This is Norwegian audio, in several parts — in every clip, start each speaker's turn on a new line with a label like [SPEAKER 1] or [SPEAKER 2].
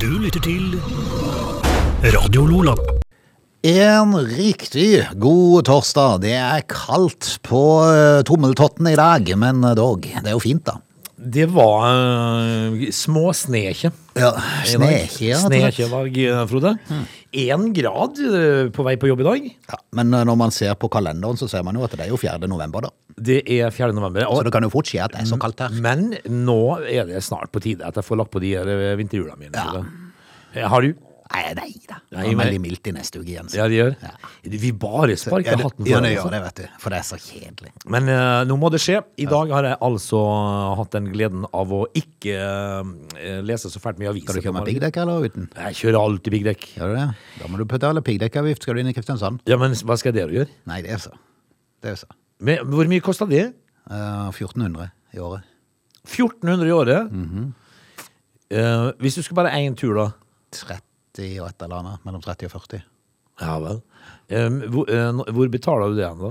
[SPEAKER 1] Du lytter til Radio Lola.
[SPEAKER 2] En riktig god torsdag. Det er kaldt på eh, tommeltotten i dag, men eh, dog, det er jo fint, da.
[SPEAKER 3] Det var eh, små snekje.
[SPEAKER 2] Ja,
[SPEAKER 3] i dag.
[SPEAKER 2] Snekje. rett og slett.
[SPEAKER 3] Snekje i dag, eh, Frode.
[SPEAKER 2] Hmm.
[SPEAKER 3] Én grad eh, på vei på jobb i dag.
[SPEAKER 2] Ja, men eh, når man ser på kalenderen, så ser man jo at det er jo 4. november, da.
[SPEAKER 3] Det er 4. november.
[SPEAKER 2] Så
[SPEAKER 3] Og,
[SPEAKER 2] det kan jo fort skje at det er så kaldt her.
[SPEAKER 3] men nå er det snart på tide at jeg får lagt på de her, eh, vinterhjula mine. Frode. Eh, Har du?
[SPEAKER 2] Nei, nei da. Det
[SPEAKER 3] Nei,
[SPEAKER 2] er
[SPEAKER 3] men-
[SPEAKER 2] veldig mildt i neste uke igjen. så-
[SPEAKER 3] Ja, de gjør.
[SPEAKER 2] Ja.
[SPEAKER 3] Vi bare sparker
[SPEAKER 2] Ja, det,
[SPEAKER 3] hatten
[SPEAKER 2] ja,
[SPEAKER 3] foran.
[SPEAKER 2] det
[SPEAKER 3] altså.
[SPEAKER 2] gjør det, vet du. For det er så kjedelig.
[SPEAKER 3] Men eh, nå må det skje. I dag har jeg altså hatt den gleden av å ikke eh, lese så fælt mye aviser.
[SPEAKER 2] Skal du kjøre med
[SPEAKER 3] på morgenen.
[SPEAKER 2] piggdekk eller uten?
[SPEAKER 3] Jeg kjører alltid piggdekk.
[SPEAKER 2] Gjør du det? Da må du betale piggdekkavgift. Skal du inn i Kristiansand?
[SPEAKER 3] Ja, men hva skal dere gjøre?
[SPEAKER 2] Nei, det er så. Det er så.
[SPEAKER 3] Men, hvor mye kosta det?
[SPEAKER 2] Eh, 1400 i året.
[SPEAKER 3] 1400 i året.
[SPEAKER 2] Mhm.
[SPEAKER 3] Eh, hvis du skulle bare én tur, da.
[SPEAKER 2] 30 og et eller annet. Mellom 30 og 40.
[SPEAKER 3] Ja vel. Eh, hvor, eh, nå- hvor betaler du det hen, da?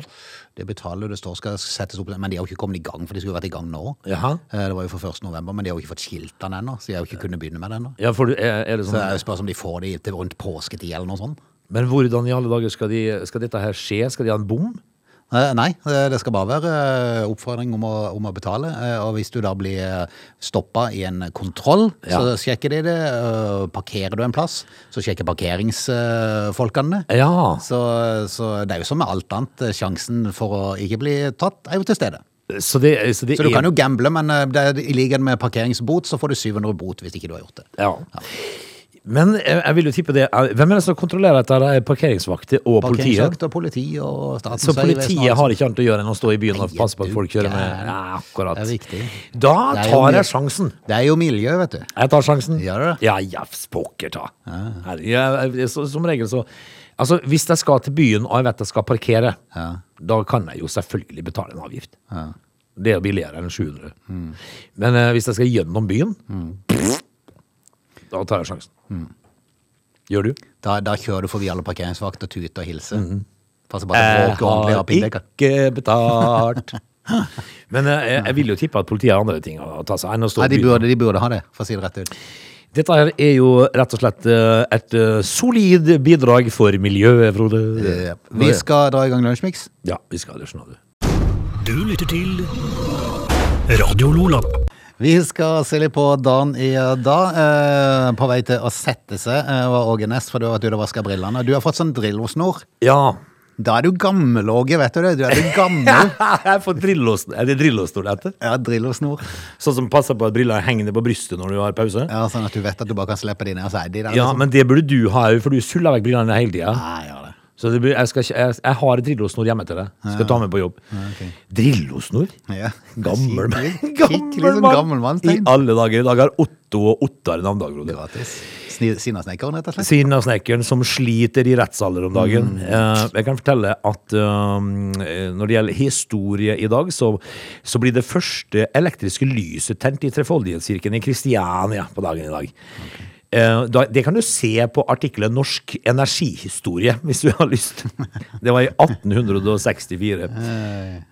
[SPEAKER 2] Det betaler det står skal settes opp, men de har jo ikke kommet i gang, for de skulle jo vært i gang nå.
[SPEAKER 3] Jaha.
[SPEAKER 2] Eh, Det var jo for 1. november, men de har jo ikke fått skilt den ennå, så de har jo ikke kunnet begynne med den ennå.
[SPEAKER 3] Ja, for du, er, er det
[SPEAKER 2] Så jeg
[SPEAKER 3] sånn,
[SPEAKER 2] spørs om de får de til rundt påsketid eller noe sånt.
[SPEAKER 3] Men hvordan i alle dager skal, de, skal dette her skje? Skal de ha en bom?
[SPEAKER 2] Eh, Nei, eh, det skal bare være eh, oppfordring om å, om å betale, eh, og hvis du da blir stoppa i en kontroll, så
[SPEAKER 3] Ja.
[SPEAKER 2] sjekker de det. eh, Parkerer du en plass, så sjekker parkeringsfolkene det.
[SPEAKER 3] Ja.
[SPEAKER 2] Så, så det er jo som med alt annet, eh, sjansen for å ikke bli tatt er jo til stede.
[SPEAKER 3] Så det, så det
[SPEAKER 2] Så du
[SPEAKER 3] er
[SPEAKER 2] kan jo gamble, men eh, det er, i likhet med parkeringsbot så får du 700 bot hvis ikke du har gjort det.
[SPEAKER 3] Ja. Men eh, jeg, jeg vil jo tippe det er- Hvem er det som kontrollerer dette? Det er parkeringsvakter og politiet?
[SPEAKER 2] Parkeringsvakt og politi og statens
[SPEAKER 3] Så
[SPEAKER 2] vegvesen og alt
[SPEAKER 3] politiet
[SPEAKER 2] sånt.
[SPEAKER 3] har ikke annet å gjøre enn å stå i byen og
[SPEAKER 2] Nei,
[SPEAKER 3] passe på at
[SPEAKER 2] du
[SPEAKER 3] folk kjører med
[SPEAKER 2] gæren.
[SPEAKER 3] Ja, akkurat.
[SPEAKER 2] Det er viktig.
[SPEAKER 3] Da
[SPEAKER 2] Det er jo
[SPEAKER 3] tar jeg
[SPEAKER 2] mye-
[SPEAKER 3] sjansen.
[SPEAKER 2] Det er jo miljø, vet du.
[SPEAKER 3] Jeg tar sjansen.
[SPEAKER 2] Gjør du det?
[SPEAKER 3] Ja, jafs pokker ta. Herre, jeg- jeg- så- Som regel så Altså, hvis jeg skal til byen og jeg vet jeg skal parkere,
[SPEAKER 2] Ja.
[SPEAKER 3] da kan jeg jo selvfølgelig betale en avgift. Det er billigere enn 700. Men eh, hvis jeg skal gjennom byen, da tar jeg sjansen. Gjør du?
[SPEAKER 2] Da, da kjører du forbi alle parkeringsvakter, tuter og hilser. Passer bare på
[SPEAKER 3] Jeg
[SPEAKER 2] folk ordentlig
[SPEAKER 3] Mhm. Eh, har
[SPEAKER 2] har piggdekker.
[SPEAKER 3] ikke betalt. Men eh, jeg, jeg vil jo tippe at politiet har andre ting å ta seg enn å stå
[SPEAKER 2] Nei,
[SPEAKER 3] i
[SPEAKER 2] de
[SPEAKER 3] byen.
[SPEAKER 2] burde, de burde ha det, for å si det rett ut.
[SPEAKER 3] Dette her er jo rett og slett eh, et eh, solid bidrag for miljøet, Frode.
[SPEAKER 2] Eh, Vi skal dra i gang Lunsjmix.
[SPEAKER 3] Ja, vi skal det, skjønner du.
[SPEAKER 1] Du lytter til Radio Lola.
[SPEAKER 2] Vi skal se litt på dagen i dag. Eh, på vei til å sette seg eh, var Åge Næss, for du har vært ute og vaska brillene. Du har fått sånn Drillo-snor.
[SPEAKER 3] Ja.
[SPEAKER 2] Da er du gammel, Åge, vet du det. Du er du gammel.
[SPEAKER 3] Jeg får drillost- Er det drillostol dette?
[SPEAKER 2] Ja, Drillo-snor.
[SPEAKER 3] Sånn som passer på at brillene henger ned på brystet når du har pause?
[SPEAKER 2] Ja, sånn at du vet at du bare kan slippe de ned, og så er de der.
[SPEAKER 3] Ja,
[SPEAKER 2] liksom.
[SPEAKER 3] men det burde du ha òg, for du suller vekk brillene hele tida.
[SPEAKER 2] Nei, gjør det.
[SPEAKER 3] Så det blir, jeg, skal, ikke- jeg, jeg har et drillosnor hjemme til deg. Skal ta med på jobb.
[SPEAKER 2] ok.
[SPEAKER 3] Drillosnor?
[SPEAKER 2] Ja.
[SPEAKER 3] Gammel mann.
[SPEAKER 2] Skikkelig- skikkelig
[SPEAKER 3] Gammel
[SPEAKER 2] sånn gammel
[SPEAKER 3] mann! I
[SPEAKER 2] mannstegn.
[SPEAKER 3] alle dager. I dag har Otto og Ottar navnedag, Frode.
[SPEAKER 2] Gratis. Sni- Sinnasnekkeren, rett og slett.
[SPEAKER 3] Siden av snekkeren som sliter i rettssaler om dagen. Eh, jeg kan fortelle at um, eh, når det gjelder historie i dag, så, så blir det første elektriske lyset tent i Trefoldighetskirken i Kristiania på dagen i dag. Eh, da, det kan du se på artikkelen 'Norsk energihistorie', hvis du har lyst. Det var i 1864.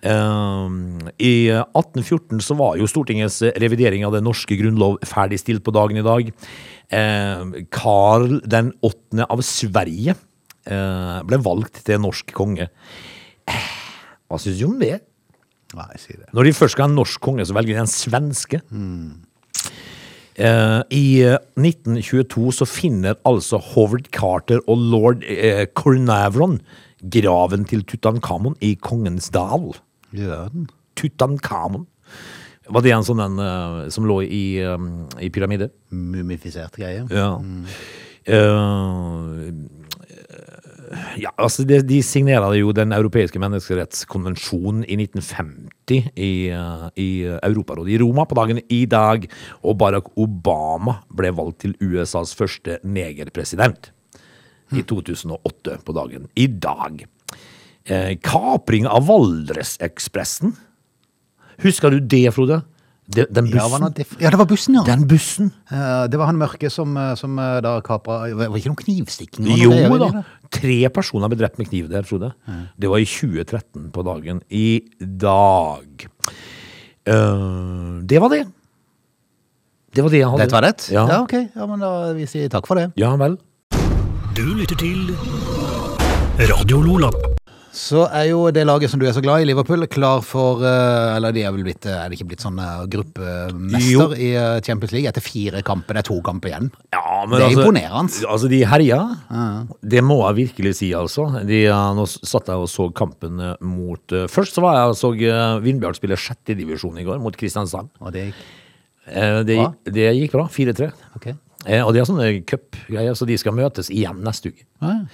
[SPEAKER 3] Um, I 1814 så var jo Stortingets revidering av den norske grunnlov ferdigstilt på dagen i dag. Eh, Karl den åttende av Sverige eh, ble valgt til norsk konge. Eh, Hva syns du om det?
[SPEAKER 2] Nei, si det.
[SPEAKER 3] Når de først skal ha en norsk konge, så velger de en svenske. Eh, I eh, 1922 så finner altså Howard Carter og lord eh, Cornavron graven til Tutankhamon i Kongens dal.
[SPEAKER 2] Gjør den.
[SPEAKER 3] Tutankhamon. Var det en sånn den eh, som lå i, um, i pyramide?
[SPEAKER 2] Mumifiserte greier.
[SPEAKER 3] Ja. Eh, ja, altså de, de signerte jo Den europeiske menneskerettskonvensjonen i 1950 i, eh, i Europarådet i Roma på dagen i dag. Og Barack Obama ble valgt til USAs første negerpresident
[SPEAKER 2] Hm.
[SPEAKER 3] i 2008 på dagen i dag. Eh, kapring av Valdresekspressen. Husker du det, Frode? De, den
[SPEAKER 2] Ja, var
[SPEAKER 3] bussen?
[SPEAKER 2] det, diff- ja, det var bussen, ja.
[SPEAKER 3] den bussen.
[SPEAKER 2] Eh, Det var han mørke som, eh, som eh, da kapra Det var ikke noen knivstikking? og noe greier
[SPEAKER 3] Jo
[SPEAKER 2] i det,
[SPEAKER 3] da. Tre personer ble drept med kniv der, Frode. Det var i 2013 på dagen i dag. Eh, det var det. Det var det jeg hadde.
[SPEAKER 2] Det var rett?
[SPEAKER 3] Ja.
[SPEAKER 2] ja, ok. Ja, men da vi sier takk for det.
[SPEAKER 3] Ja vel.
[SPEAKER 1] Du lytter til Radio Lola.
[SPEAKER 2] Så er jo det laget som du er så glad i, Liverpool, klar for eh, Eller de er vel blitt eh, Er det ikke blitt sånn eh,
[SPEAKER 3] Jo.
[SPEAKER 2] gruppemester i eh, Champions League etter fire kamper? Det er to kamper igjen.
[SPEAKER 3] Ja, men
[SPEAKER 2] Det er
[SPEAKER 3] altså,
[SPEAKER 2] imponerende.
[SPEAKER 3] Altså, de herja. Det må jeg virkelig si, altså. De, eh, nå s- satt jeg og så kampen eh, mot eh, Først så var jeg og så eh, Vindbjart spille sjettedivisjon i går, mot Kristiansand.
[SPEAKER 2] Og det gikk
[SPEAKER 3] Eh, Det,
[SPEAKER 2] Bra.
[SPEAKER 3] det gikk bra. 4-3.
[SPEAKER 2] Ok.
[SPEAKER 3] Eh, Og de har sånne cupgreier, så de skal møtes igjen neste uke.
[SPEAKER 2] Ja, ja.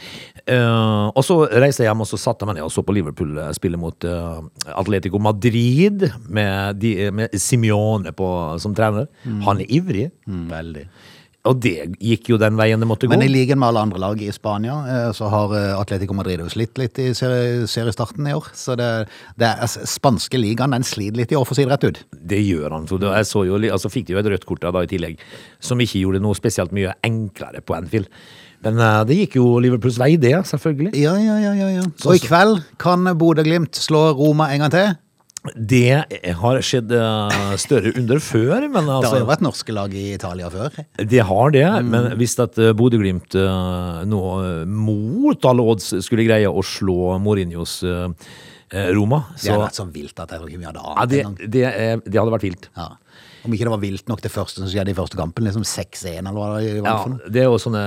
[SPEAKER 3] Eh, og så reiste jeg hjem og så satte jeg meg ned og så på Liverpool eh, spille mot eh, Atletico Madrid med, de, eh, med Simione på, som trener. Han er ivrig,
[SPEAKER 2] Mm, veldig.
[SPEAKER 3] og det gikk jo den veien det måtte gå.
[SPEAKER 2] Men i ligen med alle andre lag i Spania, eh, så har eh, Atletico Madrid jo slitt litt i serie- seriestarten i år. Så det, det er altså, spanske ligaen, den sliter litt i år, for å si det rett ut.
[SPEAKER 3] Det gjør han. Så da- jeg så jo, li- altså fikk de jo et rødt kort da, da i tillegg, som ikke gjorde det noe spesielt mye enklere på Anfield. Men eh, det gikk jo Liverpools vei, det, selvfølgelig.
[SPEAKER 2] Ja, ja, ja, ja, ja. Og i kveld kan Bodø-Glimt slå Roma en gang til.
[SPEAKER 3] Det har skjedd eh, større under før, men
[SPEAKER 2] Det har jo
[SPEAKER 3] altså
[SPEAKER 2] vært norske lag i Italia før.
[SPEAKER 3] Det har det, men hvis at eh, Bodø-Glimt eh, nå eh, mot alle odds skulle greie å slå Mourinhos eh, eh, Roma,
[SPEAKER 2] Det altså har
[SPEAKER 3] så
[SPEAKER 2] vært så vilt at jeg tror ikke vi hadde
[SPEAKER 3] ja,
[SPEAKER 2] ant
[SPEAKER 3] det,
[SPEAKER 2] engang.
[SPEAKER 3] det, er- det hadde vært vilt.
[SPEAKER 2] Ja. Om ikke det var vilt nok det første som skjedde i første kampen, liksom 6-1 eller hva det var
[SPEAKER 3] Ja,
[SPEAKER 2] for noe.
[SPEAKER 3] det er jo sånne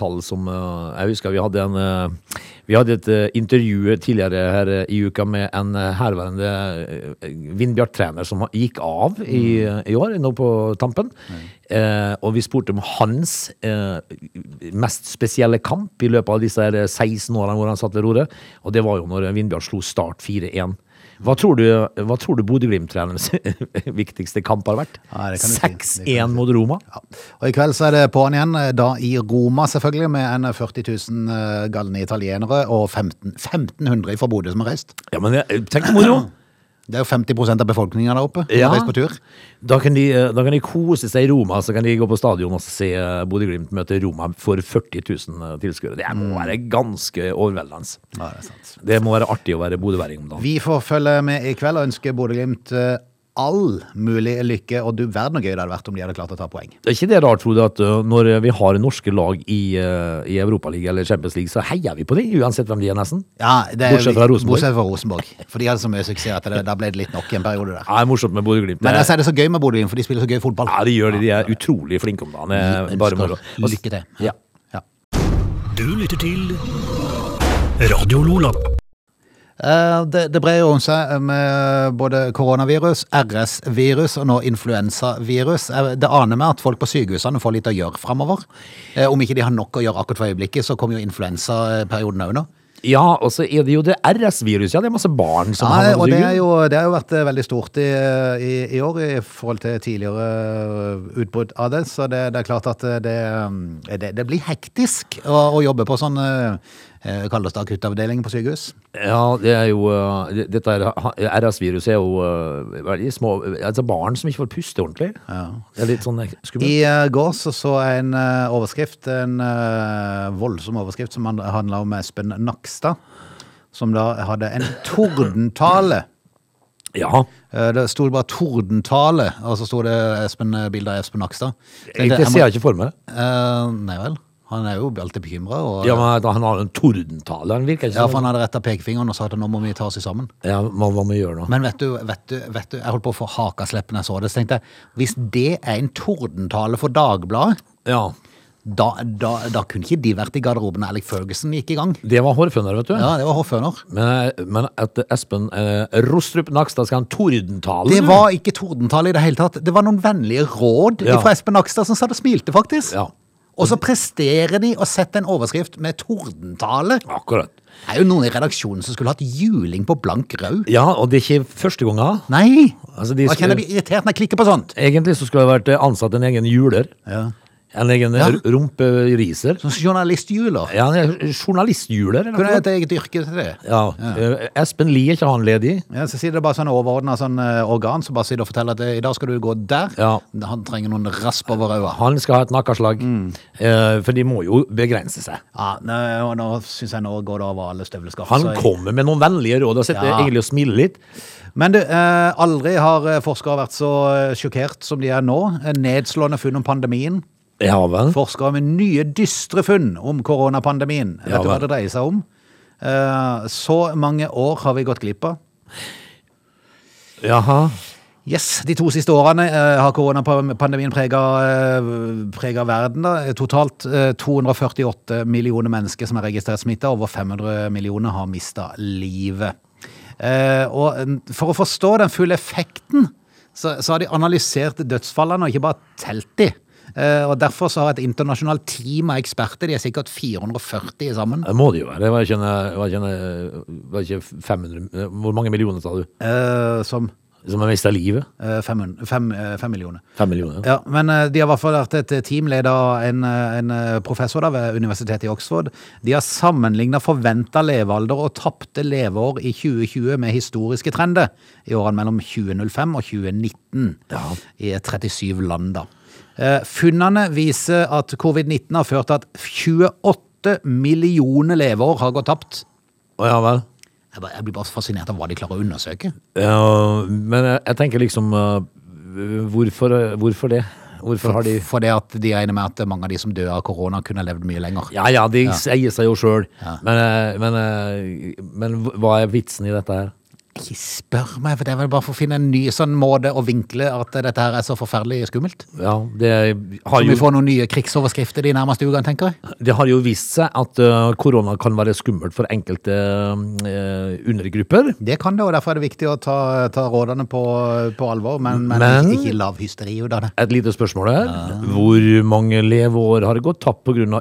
[SPEAKER 3] tall som eh, Jeg husker vi hadde, en, eh, vi hadde et eh, intervju tidligere her eh, i uka med en eh, herværende eh, Vindbjart-trener som gikk av i,
[SPEAKER 2] Mm.
[SPEAKER 3] eh, i år, nå på tampen. Eh, og vi spurte om hans eh, mest spesielle kamp i løpet av disse her 16 årene hvor han satt ved roret, og det var jo når eh, Vindbjart slo Start 4-1. Hva tror du, hva tror du Bodø-Glimt-trenerens viktigste kamp har vært?
[SPEAKER 2] Nei, det kan du si. Det kan du si.
[SPEAKER 3] 6-1 mot Roma?
[SPEAKER 2] Ja. Og i kveld så er det på'n igjen, eh, da i Roma selvfølgelig, med en 40 000 eh, galne italienere og 15, 1500 fra Bodø som har reist.
[SPEAKER 3] Ja, men jeg- tenk så moro!
[SPEAKER 2] Det er jo 50 av befolkninga der oppe. som
[SPEAKER 3] Ja.
[SPEAKER 2] Har reist på tur.
[SPEAKER 3] Da kan, de, eh, da kan de kose seg i Roma, så kan de gå på stadion og se eh, Bodø-Glimt møte Roma for 40 000 tilskuere. Det
[SPEAKER 2] Mm.
[SPEAKER 3] må være ganske overveldende.
[SPEAKER 2] Ja, det er sant.
[SPEAKER 3] Det må være artig å være bodøværing om dagen.
[SPEAKER 2] Vi får følge med i kveld og ønsker Bodø-Glimt eh, all mulig lykke. Og du verden så gøy det hadde vært om de hadde klart å ta poeng.
[SPEAKER 3] Det er ikke det rart, Frode, at eh, når vi har norske lag i, eh, i Europaligaen eller Champions League, så heier vi på dem, uansett hvem de er, nesten.
[SPEAKER 2] Ja, det er,
[SPEAKER 3] Bortsett fra Rosenborg.
[SPEAKER 2] Bortsett fra Rosenborg. For de hadde så mye suksess at det, da ble det litt nok i en periode der.
[SPEAKER 3] Ja, Det er morsomt med Bodø-Glimt.
[SPEAKER 2] Men
[SPEAKER 3] Det-
[SPEAKER 2] altså er det så gøy med Bodø-Glimt, for de spiller så gøy fotball.
[SPEAKER 3] Ja, de gjør det. De er utrolig flinke om dagen. Det
[SPEAKER 2] Vi
[SPEAKER 3] er Bare
[SPEAKER 2] ønsker
[SPEAKER 3] moro.
[SPEAKER 2] lykke til.
[SPEAKER 3] Ja.
[SPEAKER 2] Ja.
[SPEAKER 1] Du lytter til Radio Lola.
[SPEAKER 2] Eh, Det, det brer jo om seg eh, med både koronavirus, RS-virus og nå influensavirus. Eh, Det aner meg at folk på sykehusene får litt å gjøre framover. Om ikke de har nok å gjøre akkurat for øyeblikket, så kommer jo influensaperioden òg nå.
[SPEAKER 3] ja, og så er det jo det RS-viruset. Ja, det er masse barn som
[SPEAKER 2] Ja,
[SPEAKER 3] havner på
[SPEAKER 2] og det,
[SPEAKER 3] sykehus.
[SPEAKER 2] er jo, det har jo vært eh, veldig stort i, eh, i, i år i forhold til tidligere eh, utbrudd av det. Så det, det er klart at eh, det, mm, det, det blir hektisk å, å jobbe på sånn eh, eh, Kalles det akuttavdeling på sykehus?
[SPEAKER 3] Ja, det er jo eh, det- Dette er- ha- RS-viruset er jo eh, veldig små Altså barn som ikke får puste ordentlig. Det er litt sånn ek- skummelt.
[SPEAKER 2] I eh, går så, så jeg en eh, overskrift, en eh, voldsom overskrift, som han- handla om Espen Nakstad. Som da hadde en tordentale.
[SPEAKER 3] Ja.
[SPEAKER 2] Eh, Det sto bare 'tordentale', og så sto det Espen, bilde av Espen Nakstad. Så
[SPEAKER 3] Jeg, det
[SPEAKER 2] jeg
[SPEAKER 3] ser
[SPEAKER 2] må-
[SPEAKER 3] jeg ikke for meg.
[SPEAKER 2] Eh, nei vel. Han er jo alltid bekymra. Og, ja,
[SPEAKER 3] Ja, men at Han har en tordentale. Han virker ikke
[SPEAKER 2] for
[SPEAKER 3] sånn.
[SPEAKER 2] han hadde retta pekefingeren og sa at nå må vi ta oss i sammen.
[SPEAKER 3] Ja, hva hva må vi gjøre nå?
[SPEAKER 2] Men vet du, vet du, vet du jeg holdt på å få hakaslepp når jeg så det. Så tenkte jeg, hvis det er en tordentale for Dagbladet,
[SPEAKER 3] Ja,
[SPEAKER 2] da, da, da kunne ikke de vært i garderoben da Alec Ferguson gikk i gang.
[SPEAKER 3] Det var hårføner, vet du.
[SPEAKER 2] Ja, det var hoffhøner.
[SPEAKER 3] Men, men at Espen eh, Rostrup Nakstad skal ha en tordentale
[SPEAKER 2] Det var ikke tordentale i det hele tatt. Det var noen vennlige råd
[SPEAKER 3] Ja.
[SPEAKER 2] fra Espen Nakstad som satt og smilte, faktisk.
[SPEAKER 3] Ja.
[SPEAKER 2] Og så presterer de å sette en overskrift med tordentale.
[SPEAKER 3] Akkurat.
[SPEAKER 2] Det er jo noen i redaksjonen som skulle hatt juling på blank rød.
[SPEAKER 3] Ja, og det er ikke første gangen.
[SPEAKER 2] Nei!
[SPEAKER 3] Altså, de
[SPEAKER 2] Hva kan jeg bli irritert når jeg klikker på sånt?
[SPEAKER 3] Egentlig så skulle det vært eh, ansatt en egen juler. En egen
[SPEAKER 2] Ja.
[SPEAKER 3] r- rumperiser.
[SPEAKER 2] Sånn journalisthjuler.
[SPEAKER 3] Ja, han er journalisthjuler. eller
[SPEAKER 2] Kunne
[SPEAKER 3] noe
[SPEAKER 2] jeg et eget yrke til det?
[SPEAKER 3] Ja. Eh, Espen Lie, er ikke han ledig?
[SPEAKER 2] Ja, så sier det bare sånn overordna sånn eh, organ som bare sier og forteller at eh, i dag skal du gå der.
[SPEAKER 3] Ja.
[SPEAKER 2] Han trenger noen rasp over øya.
[SPEAKER 3] Han skal ha et nakkeslag. Eh, for de må jo begrense seg.
[SPEAKER 2] Ja, nå, og nå syns jeg nå går det over alle støvleskaft.
[SPEAKER 3] Han
[SPEAKER 2] så jeg-
[SPEAKER 3] kommer med noen vennlige råd og sitter
[SPEAKER 2] Ja.
[SPEAKER 3] egentlig og smiler litt.
[SPEAKER 2] Men du, eh, aldri har eh, forskere vært så eh, sjokkert som de er nå. Eh, Nedslående funn om pandemien.
[SPEAKER 3] Ja vel.
[SPEAKER 2] Forskere med nye dystre funn om koronapandemien. Vet
[SPEAKER 3] Ja,
[SPEAKER 2] du hva
[SPEAKER 3] vel.
[SPEAKER 2] det dreier seg om? Eh, så mange år har vi gått glipp av.
[SPEAKER 3] Jaha.
[SPEAKER 2] Yes, De to siste årene eh, har koronapandemien prega, eh, prega verden. Da. Totalt eh, 248 millioner mennesker som er registrert smitta. Over 500 millioner har mista livet. Eh, og en- For å forstå den fulle effekten, så, så har de analysert dødsfallene og ikke bare telt de. Eh, og Derfor så har et internasjonalt team av eksperter, de er sikkert 440 sammen,
[SPEAKER 3] Det må det jo være. Det var ikke, en- var ikke, en- var ikke 500 Hvor mange millioner sa du?
[SPEAKER 2] eh, som
[SPEAKER 3] Som har mista livet?
[SPEAKER 2] eh, 500 fem, eh, fem millioner.
[SPEAKER 3] Fem millioner?
[SPEAKER 2] Ja, men eh, de har i hvert fall vært et team ledet av en, eh, en eh, professor da, ved Universitetet i Oxford. De har sammenlignet forventet levealder og tappte leveår i 2020 med historiske trender i årene mellom 2005 og 2019
[SPEAKER 3] Ja.
[SPEAKER 2] i 37 land. Da. Eh, Funnene viser at covid-19 har ført til at 28 millioner leveår har gått tapt.
[SPEAKER 3] Å, ja vel.
[SPEAKER 2] Jeg bare- jeg blir bare fascinert av hva de klarer å undersøke.
[SPEAKER 3] Ja, men jeg, jeg tenker liksom eh, hvorfor, eh, hvorfor det? Hvorfor har de
[SPEAKER 2] Fordi at de regner med at mange av de som dør av korona kunne levd mye lenger.
[SPEAKER 3] Ja ja, de sier seg jo sjøl, men, eh, men, eh, men hva er vitsen i dette her?
[SPEAKER 2] Ikke spør meg, for det er vel bare for å finne en ny sånn måte å vinkle at dette her er så forferdelig skummelt.
[SPEAKER 3] Ja, det har
[SPEAKER 2] Om vi
[SPEAKER 3] jo,
[SPEAKER 2] får noen nye krigsoverskrifter de nærmeste ukene, tenker jeg.
[SPEAKER 3] det har jo vist seg at eh, korona kan være skummelt for enkelte eh, undergrupper.
[SPEAKER 2] Det kan det, og derfor er det viktig å ta, ta rådene på, på alvor, men, men,
[SPEAKER 3] Men-
[SPEAKER 2] ikke- ikke lav hysteri ut av det.
[SPEAKER 3] Et lite spørsmål her. Hvor mange leveår har gått tapt pga.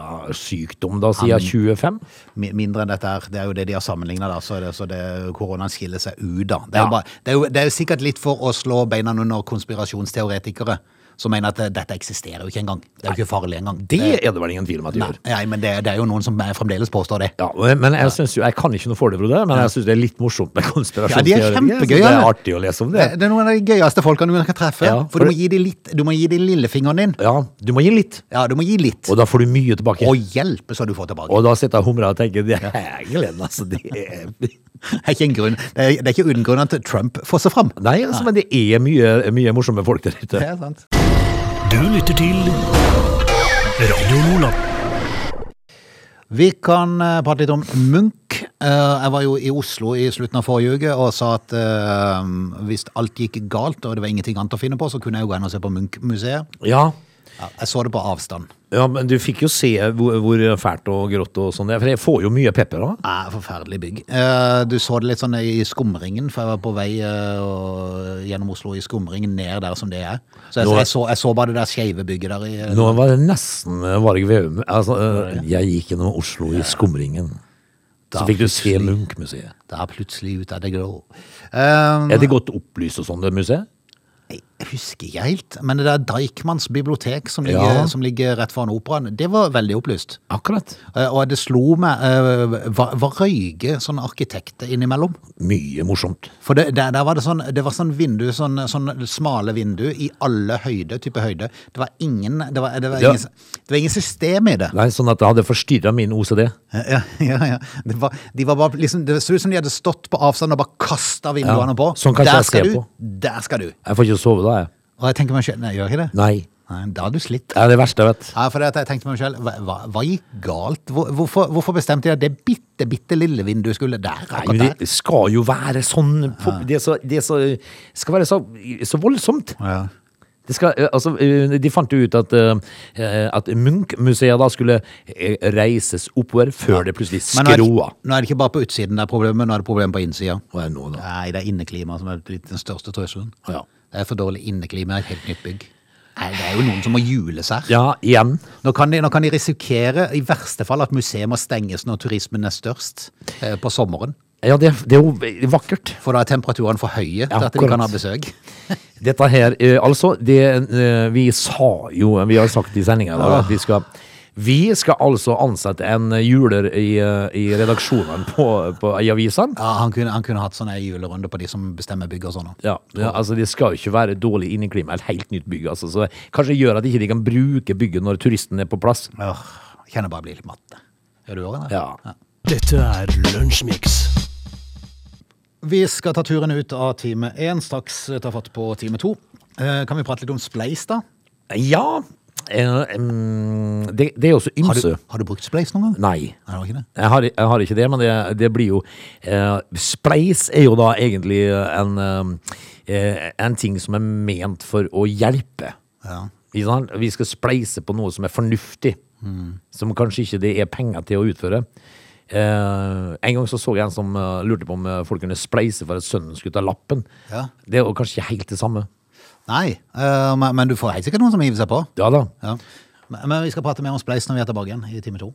[SPEAKER 3] influensasykdom da, siden 25?
[SPEAKER 2] Mi- Mindre enn dette her, det er jo det de har sammenligna, da, så, det, så det, koronaen skiller seg ut, da. Det er,
[SPEAKER 3] Ja.
[SPEAKER 2] bare, det, er jo, det er jo sikkert litt for å slå beina under konspirasjonsteoretikere som mener at eh, dette eksisterer jo ikke engang. Det er jo ikke farlig engang.
[SPEAKER 3] Det er Eh, det vel ingen tvil om at det
[SPEAKER 2] Nei,
[SPEAKER 3] gjør.
[SPEAKER 2] nei, men det, det er jo noen som eh, fremdeles påstår det.
[SPEAKER 3] Ja, men jeg synes jo, jeg kan ikke noe for det, Frode, men jeg syns det er litt morsomt med
[SPEAKER 2] Ja, de
[SPEAKER 3] konspirasjonsteorier.
[SPEAKER 2] er kjempegøye.
[SPEAKER 3] så Det er artig å lese om det.
[SPEAKER 2] Det, det er noen av de gøyeste folkene du kan treffe.
[SPEAKER 3] Ja,
[SPEAKER 2] for
[SPEAKER 3] for-
[SPEAKER 2] du må gi de litt, du må gi de lillefingeren din.
[SPEAKER 3] Ja, du må gi litt,
[SPEAKER 2] Ja, du må gi litt.
[SPEAKER 3] og da får du mye tilbake.
[SPEAKER 2] Og hjelpe så du får tilbake.
[SPEAKER 3] Og da sitter jeg og humrer og tenker det er gleden, altså. Det er...
[SPEAKER 2] Det er ikke, en grunn, det er, det er ikke uten grunn at Trump fosser fram.
[SPEAKER 3] Nei, altså, men det er mye, mye morsomme folk der ute.
[SPEAKER 2] er sant.
[SPEAKER 1] Du lytter til Radio Lola.
[SPEAKER 2] Vi kan eh, prate litt om Munch. Eh, jeg var jo i Oslo i slutten av forrige uke og sa at eh, hvis alt gikk galt og det var ingenting annet å finne på, så kunne jeg jo gå inn og se på Munch-museet.
[SPEAKER 3] Ja.
[SPEAKER 2] Ja, jeg så det på avstand.
[SPEAKER 3] ja, men du fikk jo se hvor, hvor fælt og grått og sånn det er, for jeg får jo mye pepper da.
[SPEAKER 2] Ja, forferdelig bygg. Eh, Du så det litt sånn i skumringen, for jeg var på vei eh, og- gjennom Oslo i skumringen ned der som det er. Så jeg,
[SPEAKER 3] Nå-
[SPEAKER 2] jeg, så, jeg så bare det der skeive bygget der. I, eh,
[SPEAKER 3] Nå var det nesten eh, Varg Veum. Altså, eh, jeg gikk gjennom Oslo i skumringen. Så
[SPEAKER 2] Da
[SPEAKER 3] fikk du se
[SPEAKER 2] plutselig-
[SPEAKER 3] Munch-museet.
[SPEAKER 2] Da plutselig ut av det grå. Eh,
[SPEAKER 3] Er det godt opplyst og sånn, det museet?
[SPEAKER 2] Jeg husker ikke helt, men det der Deichmans bibliotek som ligger,
[SPEAKER 3] Ja.
[SPEAKER 2] som ligger rett foran operaen, det var veldig opplyst.
[SPEAKER 3] Akkurat.
[SPEAKER 2] Eh, Og det slo meg eh, Hva hva røyker sånne arkitekter innimellom?
[SPEAKER 3] Mye morsomt.
[SPEAKER 2] For det, der, der var det sånn, det var sånn vindu, sånn, sånn smale vindu i alle høyde, type høyde. Det var ingen, det var, det var
[SPEAKER 3] Ja.
[SPEAKER 2] ingen, det var ingen system i det.
[SPEAKER 3] Nei, sånn at det hadde forstyrra min OCD.
[SPEAKER 2] Ja, ja, ja. Det, var, de var bare, liksom, det så ut som de hadde stått på avstand og bare kasta vinduene
[SPEAKER 3] Ja,
[SPEAKER 2] på.
[SPEAKER 3] sånn kanskje
[SPEAKER 2] der
[SPEAKER 3] jeg
[SPEAKER 2] skal
[SPEAKER 3] ser
[SPEAKER 2] du,
[SPEAKER 3] på.
[SPEAKER 2] der skal du.
[SPEAKER 3] Jeg får ikke sove da, jeg.
[SPEAKER 2] Og jeg tenker meg selv, nei, gjør jeg ikke det?
[SPEAKER 3] Nei.
[SPEAKER 2] Nei, da har du slitt.
[SPEAKER 3] Det er det verste jeg vet.
[SPEAKER 2] Ja, for det at jeg tenkte meg selv, hva, hva, hva gikk galt? Hvor, hvorfor, hvorfor bestemte de at det bitte, bitte lille vinduet skulle der?
[SPEAKER 3] Nei,
[SPEAKER 2] akkurat
[SPEAKER 3] men
[SPEAKER 2] der?
[SPEAKER 3] det skal jo være sånn på- Det, er så, det er så, skal være så, så voldsomt.
[SPEAKER 2] Ja.
[SPEAKER 3] Det skal, eh, altså, eh, de fant jo ut at, eh, at Munch-museet da skulle eh, reises oppover før det plutselig
[SPEAKER 2] Men nå er, det,
[SPEAKER 3] skroa.
[SPEAKER 2] nå er det ikke bare på utsiden det er problemet, nå er det problemet på innsida.
[SPEAKER 3] Hva er det nå, da?
[SPEAKER 2] Nei, det er inneklimaet som er blitt den største trusselen.
[SPEAKER 3] Ja.
[SPEAKER 2] Det er for dårlig inneklima i et helt nytt bygg. Nei, det er jo noen som må jules her.
[SPEAKER 3] Ja, igjen.
[SPEAKER 2] Nå, kan de, nå kan de risikere i verste fall at museet må stenges når turismen er størst eh, på sommeren.
[SPEAKER 3] Ja, det, det er jo vakkert.
[SPEAKER 2] For da er temperaturene for høye til at de
[SPEAKER 3] Akkurat.
[SPEAKER 2] kan ha besøk.
[SPEAKER 3] Dette her, eh, altså det, eh, Vi sa jo, vi har sagt i sendinga i dag
[SPEAKER 2] Ah.
[SPEAKER 3] at vi skal vi skal altså ansette en juler i, eh, i redaksjonene på, på, i avisene.
[SPEAKER 2] Ja, han kunne, han kunne hatt sånne julerunde på de som bestemmer bygg og sånn.
[SPEAKER 3] Ja, ja, altså Det skal jo ikke være dårlig inneklima, et helt nytt bygg. altså, så Kanskje gjør at ikke de ikke kan bruke bygget når turisten er på plass.
[SPEAKER 2] Åh, Kjenner bare jeg blir litt matt. Gjør du òg det?
[SPEAKER 3] Ja.
[SPEAKER 1] Dette er Lunsjmix.
[SPEAKER 2] Vi skal ta turen ut av time én, straks ta fatt på time to. Eh, Kan vi prate litt om Spleis, da?
[SPEAKER 3] Ja eh, em, det, det er jo så
[SPEAKER 2] Har du,
[SPEAKER 3] ymse.
[SPEAKER 2] har du brukt Spleis noen gang?
[SPEAKER 3] Nei.
[SPEAKER 2] Nei, det var ikke det.
[SPEAKER 3] Jeg har, jeg har ikke det, men det, det blir jo eh, Spleis er jo da egentlig en, eh, en ting som er ment for å hjelpe.
[SPEAKER 2] Ja.
[SPEAKER 3] Ikke sant? Vi skal spleise på noe som er fornuftig,
[SPEAKER 2] Mm.
[SPEAKER 3] som kanskje ikke det er penger til å utføre. Eh, en gang så, så jeg en som eh, lurte på om eh, folk kunne spleise for at sønnen skulle ta lappen.
[SPEAKER 2] Ja.
[SPEAKER 3] Det er jo kanskje ikke helt det samme.
[SPEAKER 2] Nei, eh, men, men du får helt sikkert noen som hiver seg på.
[SPEAKER 3] Ja da.
[SPEAKER 2] Ja. Men, men vi skal prate mer om Spleis når vi er tilbake igjen i time to.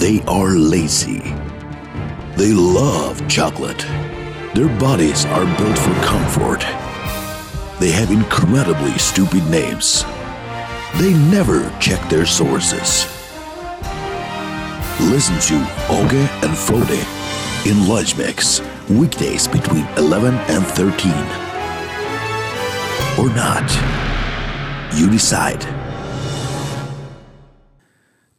[SPEAKER 4] They are lazy. They love chocolate. Their bodies are built for comfort. They have incredibly stupid names. They never check their sources. Listen to Oge and Frode in Lunch Mix, weekdays between 11 and 13. Or not. You decide.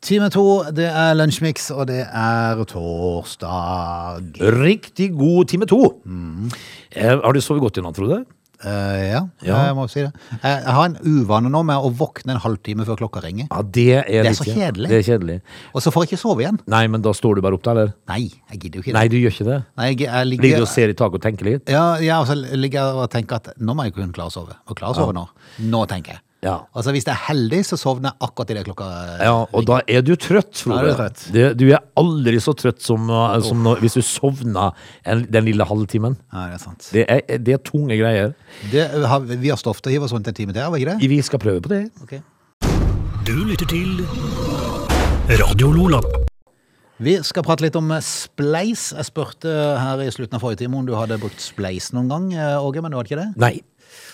[SPEAKER 2] Time to, det er Lunsjmix, og det er torsdag.
[SPEAKER 3] Riktig god time to.
[SPEAKER 2] Mm.
[SPEAKER 3] Eh, har du sovet godt i natt, Frode?
[SPEAKER 2] Eh, ja,
[SPEAKER 3] Ja.
[SPEAKER 2] jeg må si det. Jeg jeg har en uvane nå med å våkne en halvtime før klokka ringer.
[SPEAKER 3] Ja, det er,
[SPEAKER 2] er
[SPEAKER 3] litt-
[SPEAKER 2] så kjedelig.
[SPEAKER 3] Det er kjedelig.
[SPEAKER 2] Og så får jeg ikke sove igjen.
[SPEAKER 3] Nei, men da står du bare opp da, eller?
[SPEAKER 2] Nei, jeg gidder jo ikke det.
[SPEAKER 3] Nei, du gjør ikke det.
[SPEAKER 2] Nei, jeg, jeg ligger,
[SPEAKER 3] Ligger du og ser i taket og tenker litt?
[SPEAKER 2] Ja, ja, og så ligger jeg og tenker at nå må jeg kunne klare å sove. Og klare å sove nå. Nå tenker jeg.
[SPEAKER 3] Ja.
[SPEAKER 2] Og så hvis jeg er heldig, så sovner jeg akkurat idet klokka
[SPEAKER 3] Ja, og da er du trøtt, Frode.
[SPEAKER 2] Da er du trøtt.
[SPEAKER 3] Det- du er aldri så trøtt som, uh, som når, hvis du sovner en, den lille halvtimen.
[SPEAKER 2] Nei, det er sant.
[SPEAKER 3] Det er, det er tunge greier.
[SPEAKER 2] Det, har, vi har stoff til å hive oss rundt en time til, har vi ikke det?
[SPEAKER 3] Vi skal prøve på det.
[SPEAKER 2] Ok.
[SPEAKER 1] Du lytter til Radio Lola.
[SPEAKER 2] Vi skal prate litt om eh, spleis. Jeg spurte her i slutten av forrige time om du hadde brukt spleis noen gang, eh, Åge, men du hadde ikke det?
[SPEAKER 3] Nei,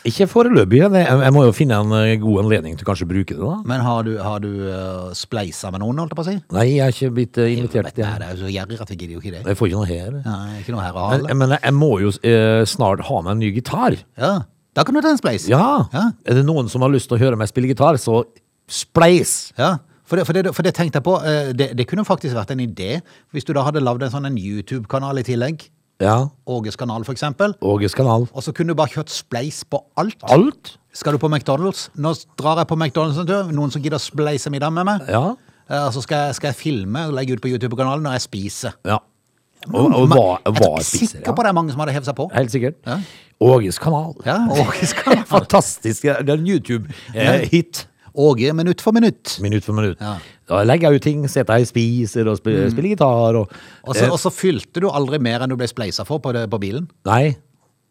[SPEAKER 3] ikke foreløpig. Jeg, jeg må jo finne en uh, god anledning til kanskje å bruke det, da.
[SPEAKER 2] Men har du, har du eh, spleisa med noen, holdt jeg på å si?
[SPEAKER 3] Nei, jeg har ikke blitt uh, invitert.
[SPEAKER 2] Vet du,
[SPEAKER 3] til
[SPEAKER 2] Nei,
[SPEAKER 3] det.
[SPEAKER 2] det er jo så gjerrig at vi gidder jo ikke det.
[SPEAKER 3] Jeg får ikke noe her.
[SPEAKER 2] Nei, ikke noe her å
[SPEAKER 3] Men,
[SPEAKER 2] hale.
[SPEAKER 3] men jeg må jo uh, snart ha meg en ny gitar.
[SPEAKER 2] Ja, da kan du ta en spleis.
[SPEAKER 3] Ja.
[SPEAKER 2] Ja.
[SPEAKER 3] Er det noen som har lyst til å høre meg spille gitar, så spleis!
[SPEAKER 2] Ja, for det, for, det, for det tenkte jeg på, eh, det, det kunne faktisk vært en idé hvis du da hadde lagd en sånn en YouTube-kanal i tillegg,
[SPEAKER 3] Ja.
[SPEAKER 2] Åges kanal for eksempel,
[SPEAKER 3] Åges kanal.
[SPEAKER 2] og så kunne du bare kjørt spleis på alt.
[SPEAKER 3] Alt?
[SPEAKER 2] Skal du på McDonalds? Nå drar jeg på McDonalds en tur, noen som gidder å spleise middag med meg?
[SPEAKER 3] Ja.
[SPEAKER 2] Eh, Så skal jeg, skal jeg filme og legge ut på YouTube-kanalen når jeg spiser.
[SPEAKER 3] ja. Og, og
[SPEAKER 2] Men
[SPEAKER 3] var,
[SPEAKER 2] jeg
[SPEAKER 3] var
[SPEAKER 2] er
[SPEAKER 3] pisser,
[SPEAKER 2] sikker på det er mange som hadde hevet seg på.
[SPEAKER 3] Helt sikkert.
[SPEAKER 2] Ja.
[SPEAKER 3] Åges kanal.
[SPEAKER 2] Ja, Åge skal
[SPEAKER 3] Fantastisk. Det er en YouTube-hit.
[SPEAKER 2] Åge minutt for minutt.
[SPEAKER 3] Minutt for minutt.
[SPEAKER 2] Ja. Mm.
[SPEAKER 3] Da legger jeg ut ting, sitter jeg og spiser og spiller, spiller gitar og
[SPEAKER 2] Og så, og så fylte du aldri mer enn du ble spleisa for på, det, på bilen.
[SPEAKER 3] Nei.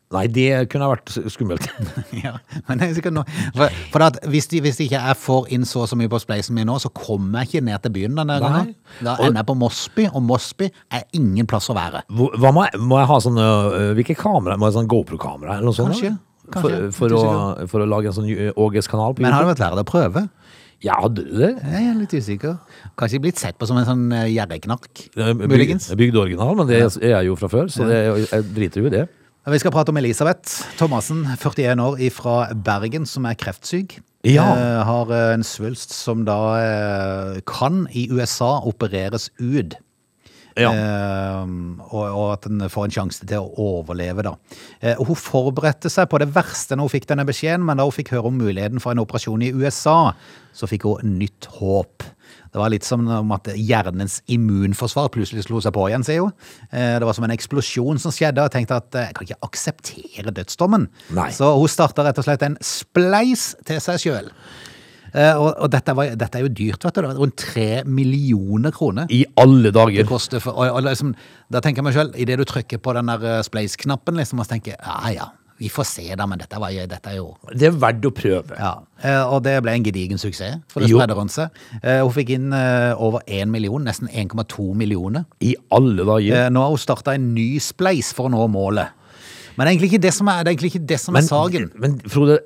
[SPEAKER 3] Nei, det kunne ha vært skummelt.
[SPEAKER 2] Ja, men det er sikkert noe. For, for at hvis, de, hvis de ikke jeg får inn så og så mye på spleisen min nå, så kommer jeg ikke ned til byen denne
[SPEAKER 3] Nei.
[SPEAKER 2] gangen. Da
[SPEAKER 3] Og-
[SPEAKER 2] ender jeg på Mosby, og Mosby er ingen plass å være.
[SPEAKER 3] Hvor- Hva må, jeg, må jeg ha sånn øh, Hvilke kamera? Må jeg ha sånn GoPro-kamera eller noe sånt?
[SPEAKER 2] Kanskje,
[SPEAKER 3] eller?
[SPEAKER 2] kanskje.
[SPEAKER 3] For, for, å, for å lage en sånn øh, Åges kanal? på
[SPEAKER 2] Men har det
[SPEAKER 3] YouTube?
[SPEAKER 2] vært verdt å prøve?
[SPEAKER 3] Ja, hadde du det?
[SPEAKER 2] Jeg er litt usikker. Kanskje blitt sett på som en sånn eh, gjerrigknark. Muligens.
[SPEAKER 3] Bygd, bygd original, men det er jeg jo fra før, så det, jeg driter jo i det.
[SPEAKER 2] Vi skal prate om Elisabeth Thomassen, 41 år, fra Bergen, som er kreftsyk.
[SPEAKER 3] Ja.
[SPEAKER 2] Eh, har eh, en svulst som da eh, kan i USA opereres ut.
[SPEAKER 3] Ja.
[SPEAKER 2] Eh, og, og at den får en sjanse til å overleve, da. Eh, og hun forberedte seg på det verste når hun fikk denne beskjeden, men da hun fikk høre om muligheten for en operasjon i USA, så fikk hun nytt håp. Det var litt som om at hjernens immunforsvar plutselig slo seg på igjen, sier hun. Eh, Det var som en eksplosjon som skjedde, og jeg tenkte at eh, jeg kan ikke akseptere dødsdommen.
[SPEAKER 3] Nei.
[SPEAKER 2] Så hun starta rett og slett en spleis til seg sjøl. Og, og dette, var, dette er jo dyrt, vet du. Det var Rundt tre millioner kroner
[SPEAKER 3] I alle dager.
[SPEAKER 2] koster for, og, og liksom, Da tenker jeg meg selv, idet du trykker på den der eh, spleis-knappen, liksom, og så tenker jeg ja ja, Vi får se, da, men dette, var, jo- dette er jo
[SPEAKER 3] Det er verdt å prøve.
[SPEAKER 2] ja, eh, og det ble en gedigen suksess, for det
[SPEAKER 3] Jo.
[SPEAKER 2] spredde rundt seg. Eh, Hun fikk inn eh, over 1 million, nesten 1,2 millioner.
[SPEAKER 3] I alle dager.
[SPEAKER 2] Eh, Nå har hun starta en ny spleis for å nå målet. Men det er egentlig ikke det som er, det er, egentlig ikke det som er saken.
[SPEAKER 3] men Frode,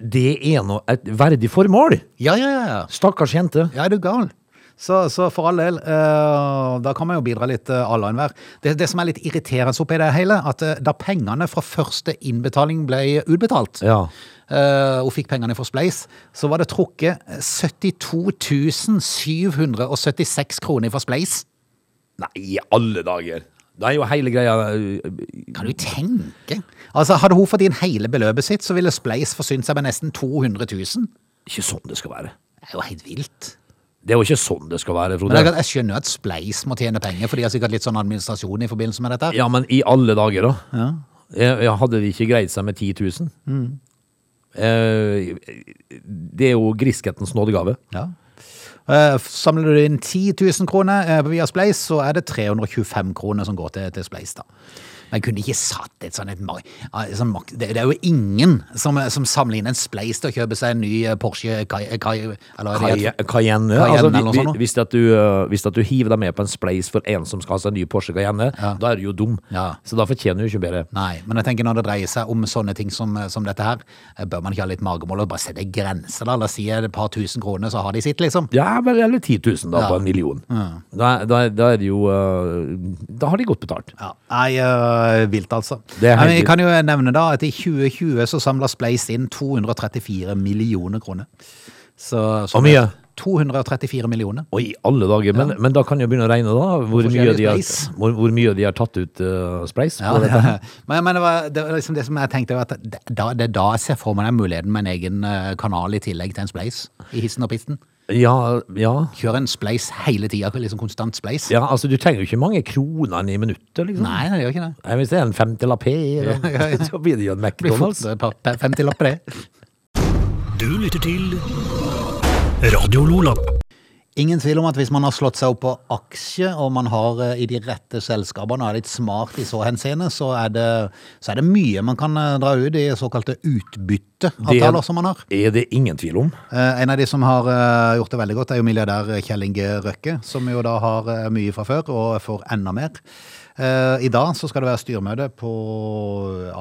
[SPEAKER 3] det er nå et verdig formål.
[SPEAKER 2] Ja, ja, ja, ja.
[SPEAKER 3] Stakkars jente.
[SPEAKER 2] Ja, er du gal? Så, så for all del, eh, da kan man jo bidra litt eh, alle og enhver. Det, det som er litt irriterende oppi det hele, at eh, da pengene fra første innbetaling ble utbetalt,
[SPEAKER 3] Ja.
[SPEAKER 2] eh, og fikk pengene fra Spleis, så var det trukket eh, 72 776 kroner fra Spleis.
[SPEAKER 3] Nei, i alle dager. Da er jo hele greia eh,
[SPEAKER 2] Kan du tenke? Altså, hadde hun fått inn hele beløpet sitt, så ville Spleis forsynt seg med nesten 200 000.
[SPEAKER 3] Ikke sånn det skal være.
[SPEAKER 2] Det er jo helt vilt.
[SPEAKER 3] Det er jo ikke sånn det skal være,
[SPEAKER 2] Men det er
[SPEAKER 3] Frode.
[SPEAKER 2] klart, jeg skjønner jo at Spleis må tjene penger, for de har sikkert litt sånn administrasjon i forbindelse med dette.
[SPEAKER 3] Ja, men i alle dager, da. Jeg, jeg hadde de ikke greid seg med 10 000?
[SPEAKER 2] Mm.
[SPEAKER 3] Eh, det er jo griskhetens nådegave.
[SPEAKER 2] Ja. Eh, Samler du inn 10 000 kroner eh, via Spleis, så er det 325 kroner som går til, til Spleis. da. Men kunne de ikke satt et sånn et mar- ah, sånn mak- Det det er jo ingen som, eh, som samler inn en Spleis til å kjøpe seg en ny eh, Porsche Cay- eh, Cay- eller hva
[SPEAKER 3] Cayenne.
[SPEAKER 2] det heter.
[SPEAKER 3] Cayenne
[SPEAKER 2] Cayenne
[SPEAKER 3] altså,
[SPEAKER 2] eller noe sånt
[SPEAKER 3] vi- vi-
[SPEAKER 2] noe.
[SPEAKER 3] hvis, at du, eh, hvis at du hiver deg med på en spleis for en som skal ha seg en ny Porsche Cayenne, da er du jo dum.
[SPEAKER 2] Ja.
[SPEAKER 3] Så da fortjener du ikke bedre.
[SPEAKER 2] Nei, men jeg tenker når det dreier seg om sånne ting som, som dette her, eh, bør man ikke ha litt magemål og bare sette grenser, da? La oss si et par tusen kroner, så har de sitt, liksom.
[SPEAKER 3] Ja, vel, eller 10 000 da, på en million. Da, da, da er det jo eh, Da har de godt betalt.
[SPEAKER 2] Ja, Nei, øh, vilt altså.
[SPEAKER 3] Det er helt
[SPEAKER 2] Nei, men jeg
[SPEAKER 3] vilt.
[SPEAKER 2] kan jo nevne da at i 2020 så samla Spleis inn 234 millioner kroner. Så, så
[SPEAKER 3] Hvor mye?
[SPEAKER 2] 234 millioner.
[SPEAKER 3] Og i alle dager, men, men da kan jeg begynne å regne, da. Hvor
[SPEAKER 2] Forskjellig
[SPEAKER 3] mye de har,
[SPEAKER 2] spleis.
[SPEAKER 3] hvor, hvor mye de har tatt ut eh, spleis? på
[SPEAKER 2] Ja,
[SPEAKER 3] dette.
[SPEAKER 2] Men, men det, var, det var liksom det som jeg tenkte var at det, da, det er da jeg ser for meg den muligheten med en egen øh, kanal i tillegg til en Spleis i hissen og pisten.
[SPEAKER 3] Ja, ja.
[SPEAKER 2] Kjøre en Spleis hele tida, liksom konstant Spleis.
[SPEAKER 3] ja, altså du trenger jo ikke mange kronene i minuttet, liksom.
[SPEAKER 2] Nei, det gjør ikke det.
[SPEAKER 3] Nei, Hvis det er en femtilapp her,
[SPEAKER 2] Ja, ja.
[SPEAKER 3] så blir det jo en
[SPEAKER 2] Det blir fort eh,
[SPEAKER 3] McDonald's.
[SPEAKER 2] et par- par- 50 lapper, det.
[SPEAKER 1] Du lytter til Radio Lola.
[SPEAKER 2] Ingen tvil om at hvis man har slått seg opp på aksje, og man har eh, i de rette selskapene og er litt smart i så henseende, så er det, så er det mye man kan eh, dra ut i såkalte utbytteavtaler som man har.
[SPEAKER 3] er det ingen tvil om.
[SPEAKER 2] Eh, En av de som har eh, gjort det veldig godt, er jo milliardær Kjell Inge Røkke, som jo da har eh, mye fra før og får enda mer. Eh, I dag så skal det være styrmøte på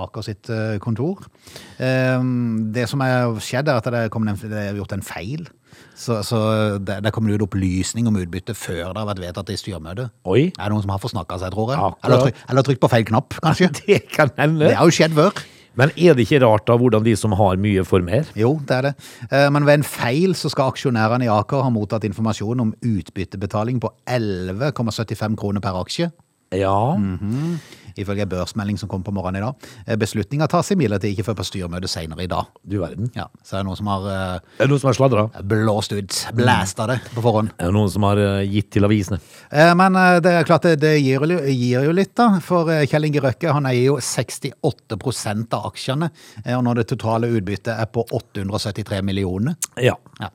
[SPEAKER 2] Aker sitt eh, kontor. Eh, Det som er skjedd, er at det, kom en, det er gjort en feil. Så, så eh, det, det kommer ut opplysning om utbytte før det har vært vedtatt i styrmøte.
[SPEAKER 3] Oi.
[SPEAKER 2] Er det noen som har forsnakka seg, tror jeg?
[SPEAKER 3] Akkurat.
[SPEAKER 2] Eller, tryk, eller trykt på feil knapp, kanskje?
[SPEAKER 3] Det kan
[SPEAKER 2] Det
[SPEAKER 3] hende.
[SPEAKER 2] har jo skjedd før.
[SPEAKER 3] Men er det ikke rart da hvordan de som har mye, får mer?
[SPEAKER 2] Jo, det er det. Eh, Men ved en feil så skal aksjonærene i Aker ha mottatt informasjon om utbyttebetaling på 11,75 kroner per aksje.
[SPEAKER 3] Ja.
[SPEAKER 2] Ifølge en børsmelding som kom på morgenen i dag. Eh, Beslutninga tas imidlertid ikke før på styremøtet senere i dag.
[SPEAKER 3] Du verden.
[SPEAKER 2] Ja, så er det noen som har eh,
[SPEAKER 3] Er det noen som har sladra?
[SPEAKER 2] blåst ut, blæsta det på forhånd.
[SPEAKER 3] Er det noen som har eh, gitt til avisene?
[SPEAKER 2] Eh, Men eh, det er klart det, det gir, jo- gir jo litt, da. For eh, Kjell Inge Røkke han eier jo 68 av aksjene. eh, Og når det totale utbyttet er på 873 millioner.
[SPEAKER 3] Ja.
[SPEAKER 2] Ja.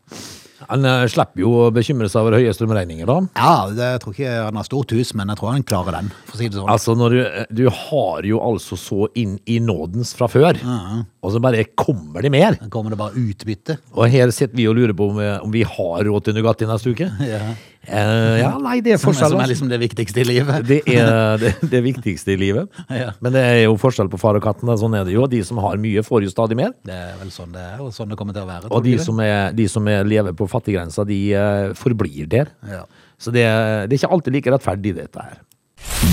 [SPEAKER 3] Han eh, slipper jo å bekymre seg over høye strømregninger, da.
[SPEAKER 2] Ja, det, jeg tror ikke han har stort hus, men jeg tror han klarer den, for å si det sånn.
[SPEAKER 3] Altså, når du, du har jo altså så inn i nådens fra før, og så bare kommer det mer.
[SPEAKER 2] Da kommer det bare utbytte.
[SPEAKER 3] Og her sitter vi og lurer på om, eh, om vi har råd til Nugatti neste uke.
[SPEAKER 2] Ja.
[SPEAKER 3] Eh, ja, nei, det er
[SPEAKER 2] Som,
[SPEAKER 3] forskjell.
[SPEAKER 2] som er
[SPEAKER 3] altså.
[SPEAKER 2] liksom det viktigste i livet.
[SPEAKER 3] Det er det, det viktigste i livet.
[SPEAKER 2] Ja.
[SPEAKER 3] Men det er jo forskjell på far og katten. da. Sånn er det jo. De som har mye, får jo stadig mer.
[SPEAKER 2] Det er vel sånn det er, og sånn det kommer til å være. tror
[SPEAKER 3] Og de
[SPEAKER 2] du ikke det?
[SPEAKER 3] som, er, de som er lever på fattiggrensa, de eh, forblir der.
[SPEAKER 2] Ja.
[SPEAKER 3] Så det, er- det er ikke alltid like rettferdig, dette her.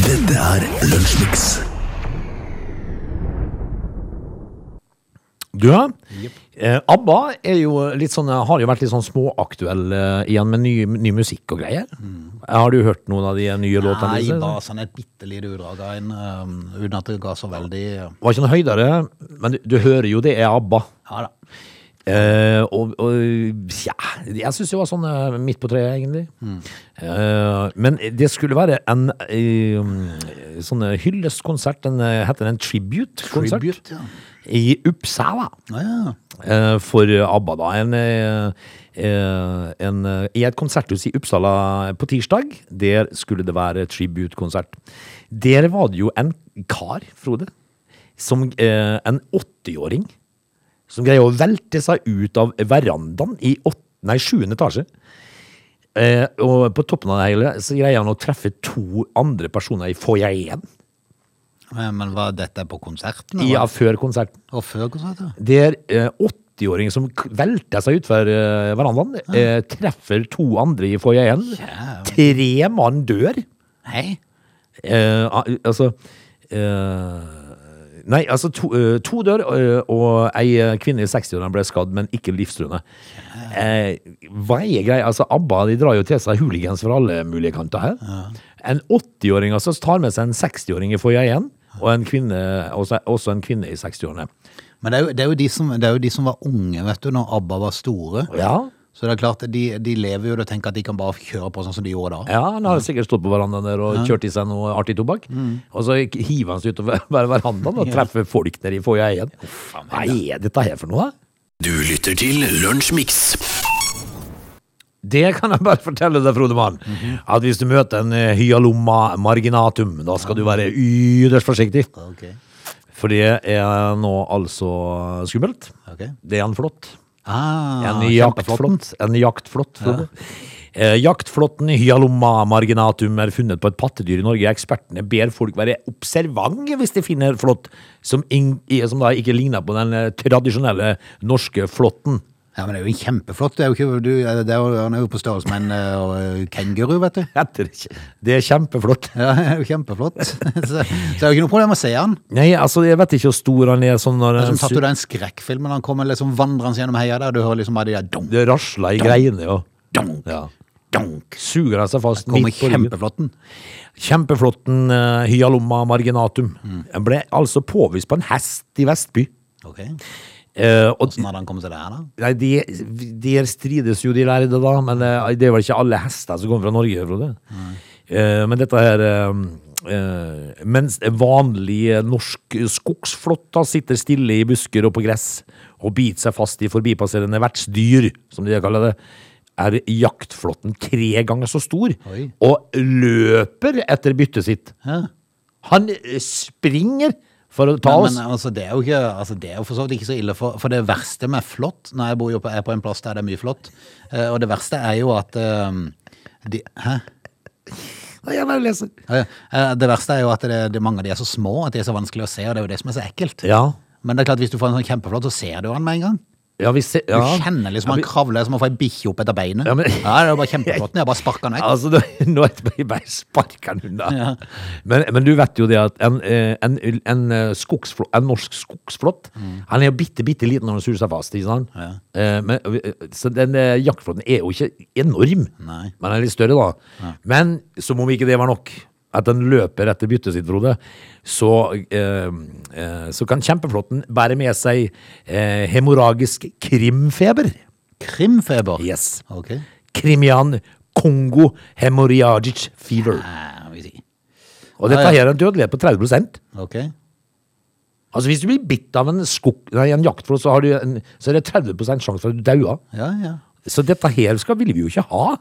[SPEAKER 4] Dette er Lunsjmix.
[SPEAKER 3] Du, ja. Eh, ABBA er jo litt sånn, har jo vært litt sånn småaktuell eh, igjen med ny, ny musikk og greier. Har du hørt noen av de nye låtene?
[SPEAKER 2] Nei,
[SPEAKER 3] disse?
[SPEAKER 2] bare sånn et bitte lite utdrag av en, øhm, uten at det ga så veldig Ja
[SPEAKER 3] Var ikke noe høydere, men du, du hører jo det er ABBA.
[SPEAKER 2] da.
[SPEAKER 3] Eh, og, og ja, jeg syns det var sånn eh, midt på treet, egentlig.
[SPEAKER 2] Mm.
[SPEAKER 3] Eh, men det skulle være en eh, sånn eh, hyllestkonsert, en, eh, heter det en tribute-konsert?
[SPEAKER 2] Tribute, ja.
[SPEAKER 3] I Uppsala.
[SPEAKER 2] Ja, ja.
[SPEAKER 3] eh, for ABBA, da. En, eh, eh, en, eh, I et konserthus i Uppsala på tirsdag, der skulle det være tribute-konsert. Der var det jo en kar, Frode, som eh, en 80-åring som greier å velte seg ut av verandaen i åt- nei, 7. etasje. Eh, og på toppen av det hele så greier han å treffe to andre personer i foajeen
[SPEAKER 2] Eh, Men var dette på konserten? eller?
[SPEAKER 3] ja, før konserten.
[SPEAKER 2] Og før konserten?
[SPEAKER 3] Det er eh, 80-åring som k- velter seg utfor eh, verandaen, eh, treffer to andre i foajeen.
[SPEAKER 2] Jævlig.
[SPEAKER 3] Tre mann dør.
[SPEAKER 2] Hei.
[SPEAKER 3] Eh, al- altså eh, Nei, altså to, eh, to dør, eh, og ei eh, kvinne i 60-årene ble skadd, men ikke livstruende. Eh, hva er greia? Altså, ABBA de drar jo til seg hooligans fra alle mulige kanter her. En 80-åring altså tar med seg en 60-åring i foajeen, og en kvinne, også, også en kvinne i 60-årene.
[SPEAKER 2] Men det er, jo, det, er jo de som, det er jo de som var unge, vet du, når ABBA var store.
[SPEAKER 3] Ja,
[SPEAKER 2] Så det er klart, de, de lever jo og tenker at de kan bare kjøre på sånn som de gjorde da.
[SPEAKER 3] Ja, han har sikkert stått på verandaen der og kjørt i seg noe artig tobakk. Og så hiver han seg utover ver- verandaen og treffer folk der i foajeen. Hva er dette her for noe? da?
[SPEAKER 1] Du lytter til Lunsjmix.
[SPEAKER 3] Det kan jeg bare fortelle deg, Frode Mann. At hvis du møter en eh, hyalomma marginatum, da skal du være ytterst forsiktig.
[SPEAKER 2] Ok,
[SPEAKER 3] For det er nå altså skummelt.
[SPEAKER 2] ok.
[SPEAKER 3] Det er en flått.
[SPEAKER 2] Ah,
[SPEAKER 3] En
[SPEAKER 2] kjempeflott.
[SPEAKER 3] jaktflått. En jaktflått, Frode. Eh, jaktflåtten Hyalomma marginatum er funnet på et pattedyr i Norge. Ekspertene ber folk være observante hvis de finner flått som, ing- i- som da ikke ligner på den eh, tradisjonelle norske flåtten.
[SPEAKER 2] Ja, men det er jo en kjempeflott. Det er jo ikke, du, det er jo, han er jo på størrelse med en eh, kenguru, vet du.
[SPEAKER 3] Heter det ikke. Det er kjempeflott.
[SPEAKER 2] Ja, det er jo kjempeflott. så, så det er jo ikke noe problem å se han.
[SPEAKER 3] Nei, altså, jeg vet ikke hvor stor han er sånn når
[SPEAKER 2] Det er
[SPEAKER 3] han
[SPEAKER 2] som tatt
[SPEAKER 3] su-
[SPEAKER 2] du deg en skrekkfilm, når han kommer liksom vandrende gjennom heia der, du hører liksom bare de der dunk,
[SPEAKER 3] Det rasler i greiene, jo.
[SPEAKER 2] dunk,
[SPEAKER 3] Ja.
[SPEAKER 2] dunk.
[SPEAKER 3] Suger han seg fast
[SPEAKER 2] Kommer
[SPEAKER 3] midt på ryggen.
[SPEAKER 2] kjempeflotten.
[SPEAKER 3] Kjempeflåtten eh, Hyalomma marginatum.
[SPEAKER 2] Mm.
[SPEAKER 3] Den ble altså påvist på en hest i Vestby.
[SPEAKER 2] Ok,
[SPEAKER 3] Eh, og
[SPEAKER 2] sånn hadde han kommet til det her da.
[SPEAKER 3] Nei, de, de strides jo de lærde da, men eh, det er vel ikke alle hester som kommer fra Norge, Frode. Eh, Men dette her eh, eh, Mens vanlig eh, norsk skogsflått da sitter stille i busker og på gress og biter seg fast i forbipasserende vertsdyr, som de kaller det, er jaktflåtten tre ganger så stor
[SPEAKER 2] Oi.
[SPEAKER 3] og løper etter byttet sitt.
[SPEAKER 2] Ja.
[SPEAKER 3] Han eh, springer for å ta
[SPEAKER 2] Men,
[SPEAKER 3] oss.
[SPEAKER 2] men altså, det er jo ikke, altså, det er jo for så vidt ikke så ille, for, for det verste med flått Når jeg bor jo på, er på en plass der det er mye flått, eh, og det verste er jo at eh, de, Hæ?
[SPEAKER 3] Nei, jeg bare leser.
[SPEAKER 2] Eh, eh, Det verste er jo at det, det, mange av de er så små at de er så vanskelig å se, og det er jo det som er så ekkelt.
[SPEAKER 3] Ja.
[SPEAKER 2] Men det er klart, hvis du får en sånn kjempeflått, så ser du han med en gang.
[SPEAKER 3] Ja, vi ser,
[SPEAKER 2] Du
[SPEAKER 3] ja.
[SPEAKER 2] kjenner liksom han kravler som å få ei bikkje opp etter beinet.
[SPEAKER 3] Ja,
[SPEAKER 2] Ja,
[SPEAKER 3] men-
[SPEAKER 2] det er jo bare kjempeflott. Jeg bare sparker han vekk.
[SPEAKER 3] Altså, nå, nå er det bare sparker han unna. Men, men du vet jo det at en, eh, en, en, eh, skogsflå, en norsk skogsflått, han er jo bitte, bitte liten når han suger seg fast, ikke sant? Eh, men, eh, så den eh, jaktflåtten er jo ikke enorm,
[SPEAKER 2] Nei.
[SPEAKER 3] men den er litt større da. Men som om ikke det var nok, at den løper etter byttet sitt, Frode, så, eh, eh, så kan kjempeflåtten bære med seg eh, hemoragisk krimfeber.
[SPEAKER 2] Krimfeber.
[SPEAKER 3] Yes.
[SPEAKER 2] Ok.
[SPEAKER 3] Krimian Kongo Hemorrhagic Fever.
[SPEAKER 2] Eh, vi sier.
[SPEAKER 3] Og dette
[SPEAKER 2] Ja, ja.
[SPEAKER 3] her er en dødelighet på 30
[SPEAKER 2] Ok.
[SPEAKER 3] Altså Hvis du blir bitt av en, skog, nei, en jaktflått, så, har du en- så er det 30 sjanse for at du dauer.
[SPEAKER 2] Ja, ja.
[SPEAKER 3] Så dette her skal, vil vi jo ikke ha.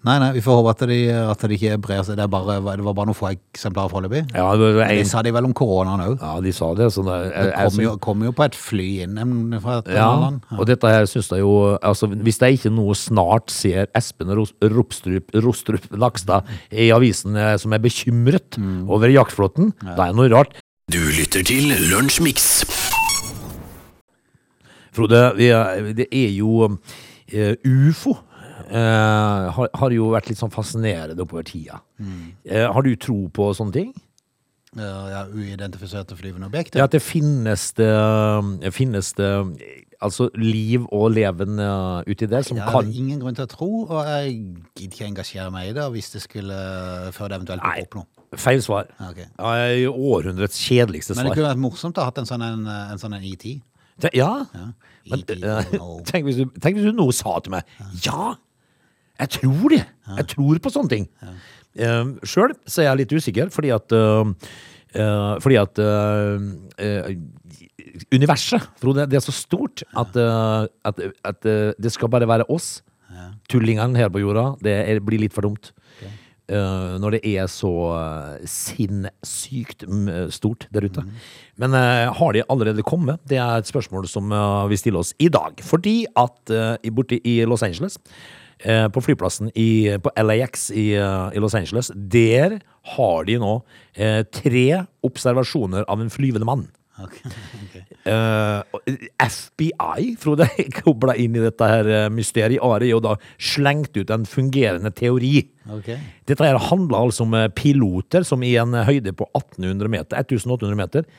[SPEAKER 2] Nei, nei, vi får håpe at det at de ikke brer seg. Det, er bare, det var bare noen få eksemplarer foreløpig.
[SPEAKER 3] Ja, det var
[SPEAKER 2] Det
[SPEAKER 3] en,
[SPEAKER 2] sa de vel om koronaen òg.
[SPEAKER 3] ja de sa det. Sånn, jeg,
[SPEAKER 2] Det
[SPEAKER 3] jeg,
[SPEAKER 2] kom jo, kom jo på et fly inn em, fra et annet
[SPEAKER 3] ja,
[SPEAKER 2] land.
[SPEAKER 3] og dette her syns jeg jo altså, Hvis jeg ikke nå snart ser Espen Ros- Ropstrup, Rostrup Nakstad i avisen eh, som er bekymret over jaktflåtten, det er noe rart.
[SPEAKER 1] Du lytter til Lunsjmix.
[SPEAKER 3] Frode, vi er, det er jo eh, UFO. eh, har, har jo vært litt sånn fascinerende oppover tida. Eh, har du tro på sånne ting?
[SPEAKER 2] Ja, ja, uidentifiserte flyvende
[SPEAKER 3] Det
[SPEAKER 2] objekter.
[SPEAKER 3] at det finnes det, finnes det eh, altså liv og leven eh, uti der som
[SPEAKER 2] Jeg har
[SPEAKER 3] kan
[SPEAKER 2] ingen grunn til å tro, og jeg gidder ikke engasjere meg i det hvis det skulle før det eventuelt
[SPEAKER 3] Nei.
[SPEAKER 2] dukker opp noe.
[SPEAKER 3] Feil svar.
[SPEAKER 2] Ja, ok.
[SPEAKER 3] Eh, århundrets kjedeligste
[SPEAKER 2] Men det
[SPEAKER 3] svar.
[SPEAKER 2] kunne vært morsomt å ha hatt en sånn en, en, sånn en ET.
[SPEAKER 3] Te- Ja? Men,
[SPEAKER 2] ET,
[SPEAKER 3] eh,
[SPEAKER 2] og-
[SPEAKER 3] tenk, hvis du, tenk hvis du nå sa til meg Ja, jeg tror det. Jeg tror på sånne ting. Ja. Sjøl så er jeg litt usikker, fordi at eh, eh, Fordi at eh, eh, Universet, Frode, det er så stort at, eh, at, at eh, det skal bare være oss. Tullingene her på jorda. Det er, blir litt for dumt. eh, når det er så eh, sinnssykt mm, stort der ute. Men eh, har de allerede kommet? Det er et spørsmål som eh, vi stiller oss i dag. Fordi at eh, i- borte i Los Angeles, eh, på flyplassen i, på LAX i, eh, i Los Angeles, der har de nå eh, tre observasjoner av en flyvende mann. Eh, og FBI, Frode, kobla inn i dette her eh, mysteriet. Ari og da slengt ut en fungerende teori.
[SPEAKER 2] Ok.
[SPEAKER 3] Dette her handla altså om eh, piloter som i en eh, høyde på 1800 meter, 1800 meter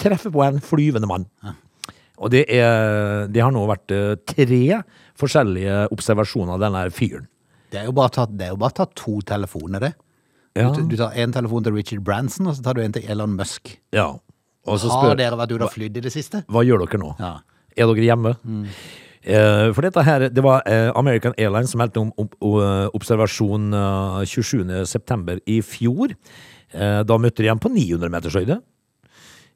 [SPEAKER 3] treffer på en flyvende mann. Og det, er, det har nå vært eh, tre forskjellige observasjoner av denne her fyren.
[SPEAKER 2] Det er jo bare tatt, det er jo bare tatt to telefoner, det.
[SPEAKER 3] Ja.
[SPEAKER 2] Du, du tar én telefon til Richard Branson, og så tar du en til Elon Musk.
[SPEAKER 3] Ja. Og så
[SPEAKER 2] Har
[SPEAKER 3] spør,
[SPEAKER 2] dere vært ute og flydd i det siste?
[SPEAKER 3] hva gjør dere nå?
[SPEAKER 2] Ja. Mm.
[SPEAKER 3] Er dere hjemme? Eh, for dette her, det var eh, American Airlines som meldte om, om, o- eh, observasjon eh, 27. september i fjor. Eh, da møtte de ham på 900 meters høyde.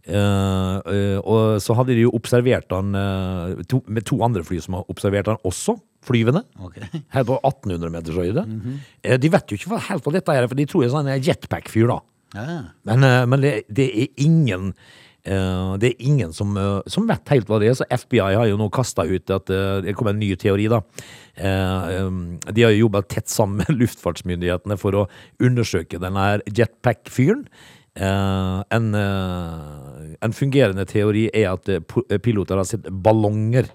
[SPEAKER 3] Eh, eh, og så hadde de jo observert han eh, to, med to andre fly som har observert han også, flyvende.
[SPEAKER 2] Ok. Mhm.
[SPEAKER 3] Her på 1800 meters høyde. eh, de vet jo ikke hva, helt hva dette er, for de tror jo sånn er jetpack-fyr da.
[SPEAKER 2] Ja.
[SPEAKER 3] Men, eh, men det, det er ingen eh, Det er ingen som, eh, som vet helt hva det er. Så FBI har jo nå kasta ut at eh, det kom en ny teori, da. Eh, um, De har jo jobba tett sammen med luftfartsmyndighetene for å undersøke denne her jetpack-fyren. Eh, En, eh, en fungerende teori er at eh, po- eh, piloter har sett ballonger.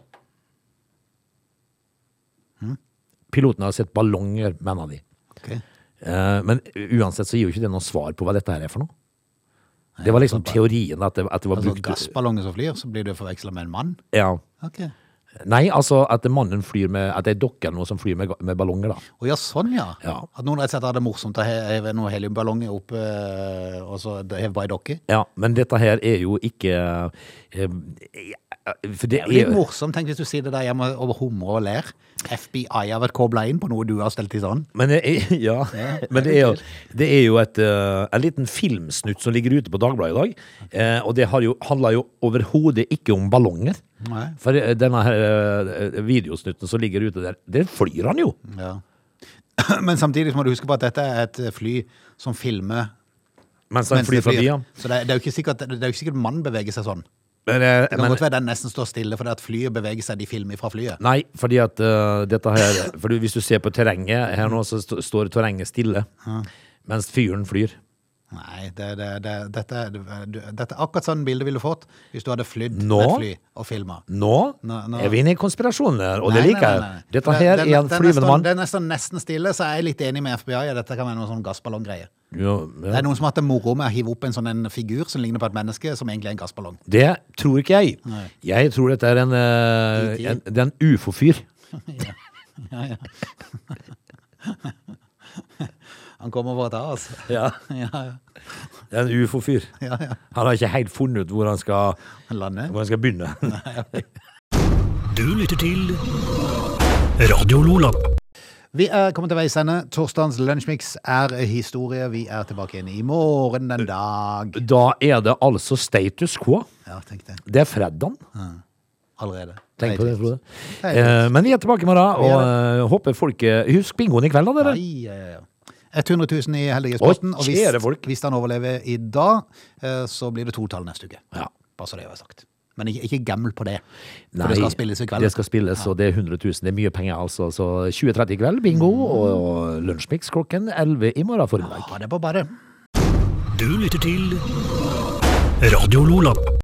[SPEAKER 3] Pilotene har sett ballonger, mener de.
[SPEAKER 2] Ok.
[SPEAKER 3] Eh, Men uansett så gir jo ikke det noe svar på hva dette her er for noe. Det var liksom teorien at det, at det var
[SPEAKER 2] Altså
[SPEAKER 3] brukt
[SPEAKER 2] gassballonger som flyr, så blir du forveksla med en mann?
[SPEAKER 3] ja.
[SPEAKER 2] Ok.
[SPEAKER 3] Nei, altså at mannen flyr med At det er dokker eller noe som flyr med, ga- med ballonger, da.
[SPEAKER 2] Å ja, sånn ja.
[SPEAKER 3] Ja.
[SPEAKER 2] At noen rett og slett hadde det morsomt å he- heve noen heliumballonger opp, eh, og så heve bare dokker?
[SPEAKER 3] Ja, Men dette her er jo ikke eh, eh, For
[SPEAKER 2] Det
[SPEAKER 3] det
[SPEAKER 2] er
[SPEAKER 3] er
[SPEAKER 2] litt morsomt, tenk hvis du sitter der hjemme og humrer og ler. FBI har vært kobla inn på noe du har stelt i sånn.
[SPEAKER 3] men det er, ja, men det er jo, det er jo et, eh, en liten filmsnutt som ligger ute på Dagbladet i dag. eh, og det har jo, handler jo overhodet ikke om ballonger.
[SPEAKER 2] Nei.
[SPEAKER 3] For eh, denne her, eh, videosnutten som ligger ute der, der flyr han jo.
[SPEAKER 2] Ja. Men samtidig så må du huske på at dette er et fly som filmer
[SPEAKER 3] Mens han
[SPEAKER 2] mens det
[SPEAKER 3] flyr fra
[SPEAKER 2] flyr.
[SPEAKER 3] byen.
[SPEAKER 2] Så det, er- det er jo ikke sikkert, det er jo ikke sikkert mannen beveger seg sånn.
[SPEAKER 3] Men, eh,
[SPEAKER 2] Det kan
[SPEAKER 3] men,
[SPEAKER 2] godt være den nesten står stille fordi at flyet beveger seg, de filmer fra flyet.
[SPEAKER 3] nei, fordi at eh, dette her for du- Hvis du ser på terrenget her nå, så st står terrenget stille. Mens fyren flyr.
[SPEAKER 2] Nei, det, det, det, dette, er- du- dette er akkurat sånn bilde ville fått hvis du hadde flydd med
[SPEAKER 3] Nå?
[SPEAKER 2] et fly og filma.
[SPEAKER 3] Nå
[SPEAKER 2] Nå- nå-
[SPEAKER 3] er vi inne i konspirasjonen her, og det liker jeg. Dette her er en flyvende mann.
[SPEAKER 2] Den er nesten, nesten stille, så jeg er litt enig med FBI. at Dette kan være noe sånn gassballonggreie.
[SPEAKER 3] Jo,
[SPEAKER 2] Det
[SPEAKER 3] ja.
[SPEAKER 2] er noen som har hatt det moro med å hive opp en sånn en figur som ligner på et menneske, som egentlig er en gassballong.
[SPEAKER 3] Det tror ikke jeg. Jeg tror dette er en, eh,
[SPEAKER 2] E.T.
[SPEAKER 3] en, det er en ufo-fyr.
[SPEAKER 2] Ja, ja. Han kommer for å ta oss.
[SPEAKER 3] Ja,
[SPEAKER 2] Ja, ja.
[SPEAKER 3] det er en ufo-fyr.
[SPEAKER 2] ja, ja.
[SPEAKER 3] Han har ikke helt funnet ut hvor han skal,
[SPEAKER 2] Han lander.
[SPEAKER 3] hvor han skal begynne.
[SPEAKER 1] Du lytter til Radio Lola.
[SPEAKER 2] Vi er kommet til veis ende. Torsdagens lunsjmix er historie. Vi er tilbake igjen i morgen den dag.
[SPEAKER 3] Da er det altså status quo.
[SPEAKER 2] Ja, tenk det.
[SPEAKER 3] Det er fredagen.
[SPEAKER 2] Allerede.
[SPEAKER 3] Tenk på det, Frode.
[SPEAKER 2] Nei, det er
[SPEAKER 3] Eh, men vi er tilbake i morgen, og eh, håper folk eh, Husk bingoen i kveld, da, dere.
[SPEAKER 2] Nei, ja, ja, ja. 100 000 i Heldighetspotten. Og
[SPEAKER 3] kjære
[SPEAKER 2] hvis,
[SPEAKER 3] folk.
[SPEAKER 2] hvis han overlever i dag, eh, så blir det to tall neste uke.
[SPEAKER 3] Ja.
[SPEAKER 2] Bare så det er sagt. Men ikke, ikke gammel på det. For
[SPEAKER 3] Nei,
[SPEAKER 2] det skal spilles i kveld.
[SPEAKER 3] Det skal spilles, og det er 100 000. Det er mye penger, altså. Så 20.30 i kveld, bingo,
[SPEAKER 2] Mm.
[SPEAKER 3] og, og lunsjmix klokken 11 i morgen formiddag.
[SPEAKER 2] Ha det på bare.
[SPEAKER 1] Du lytter til Radio Lola.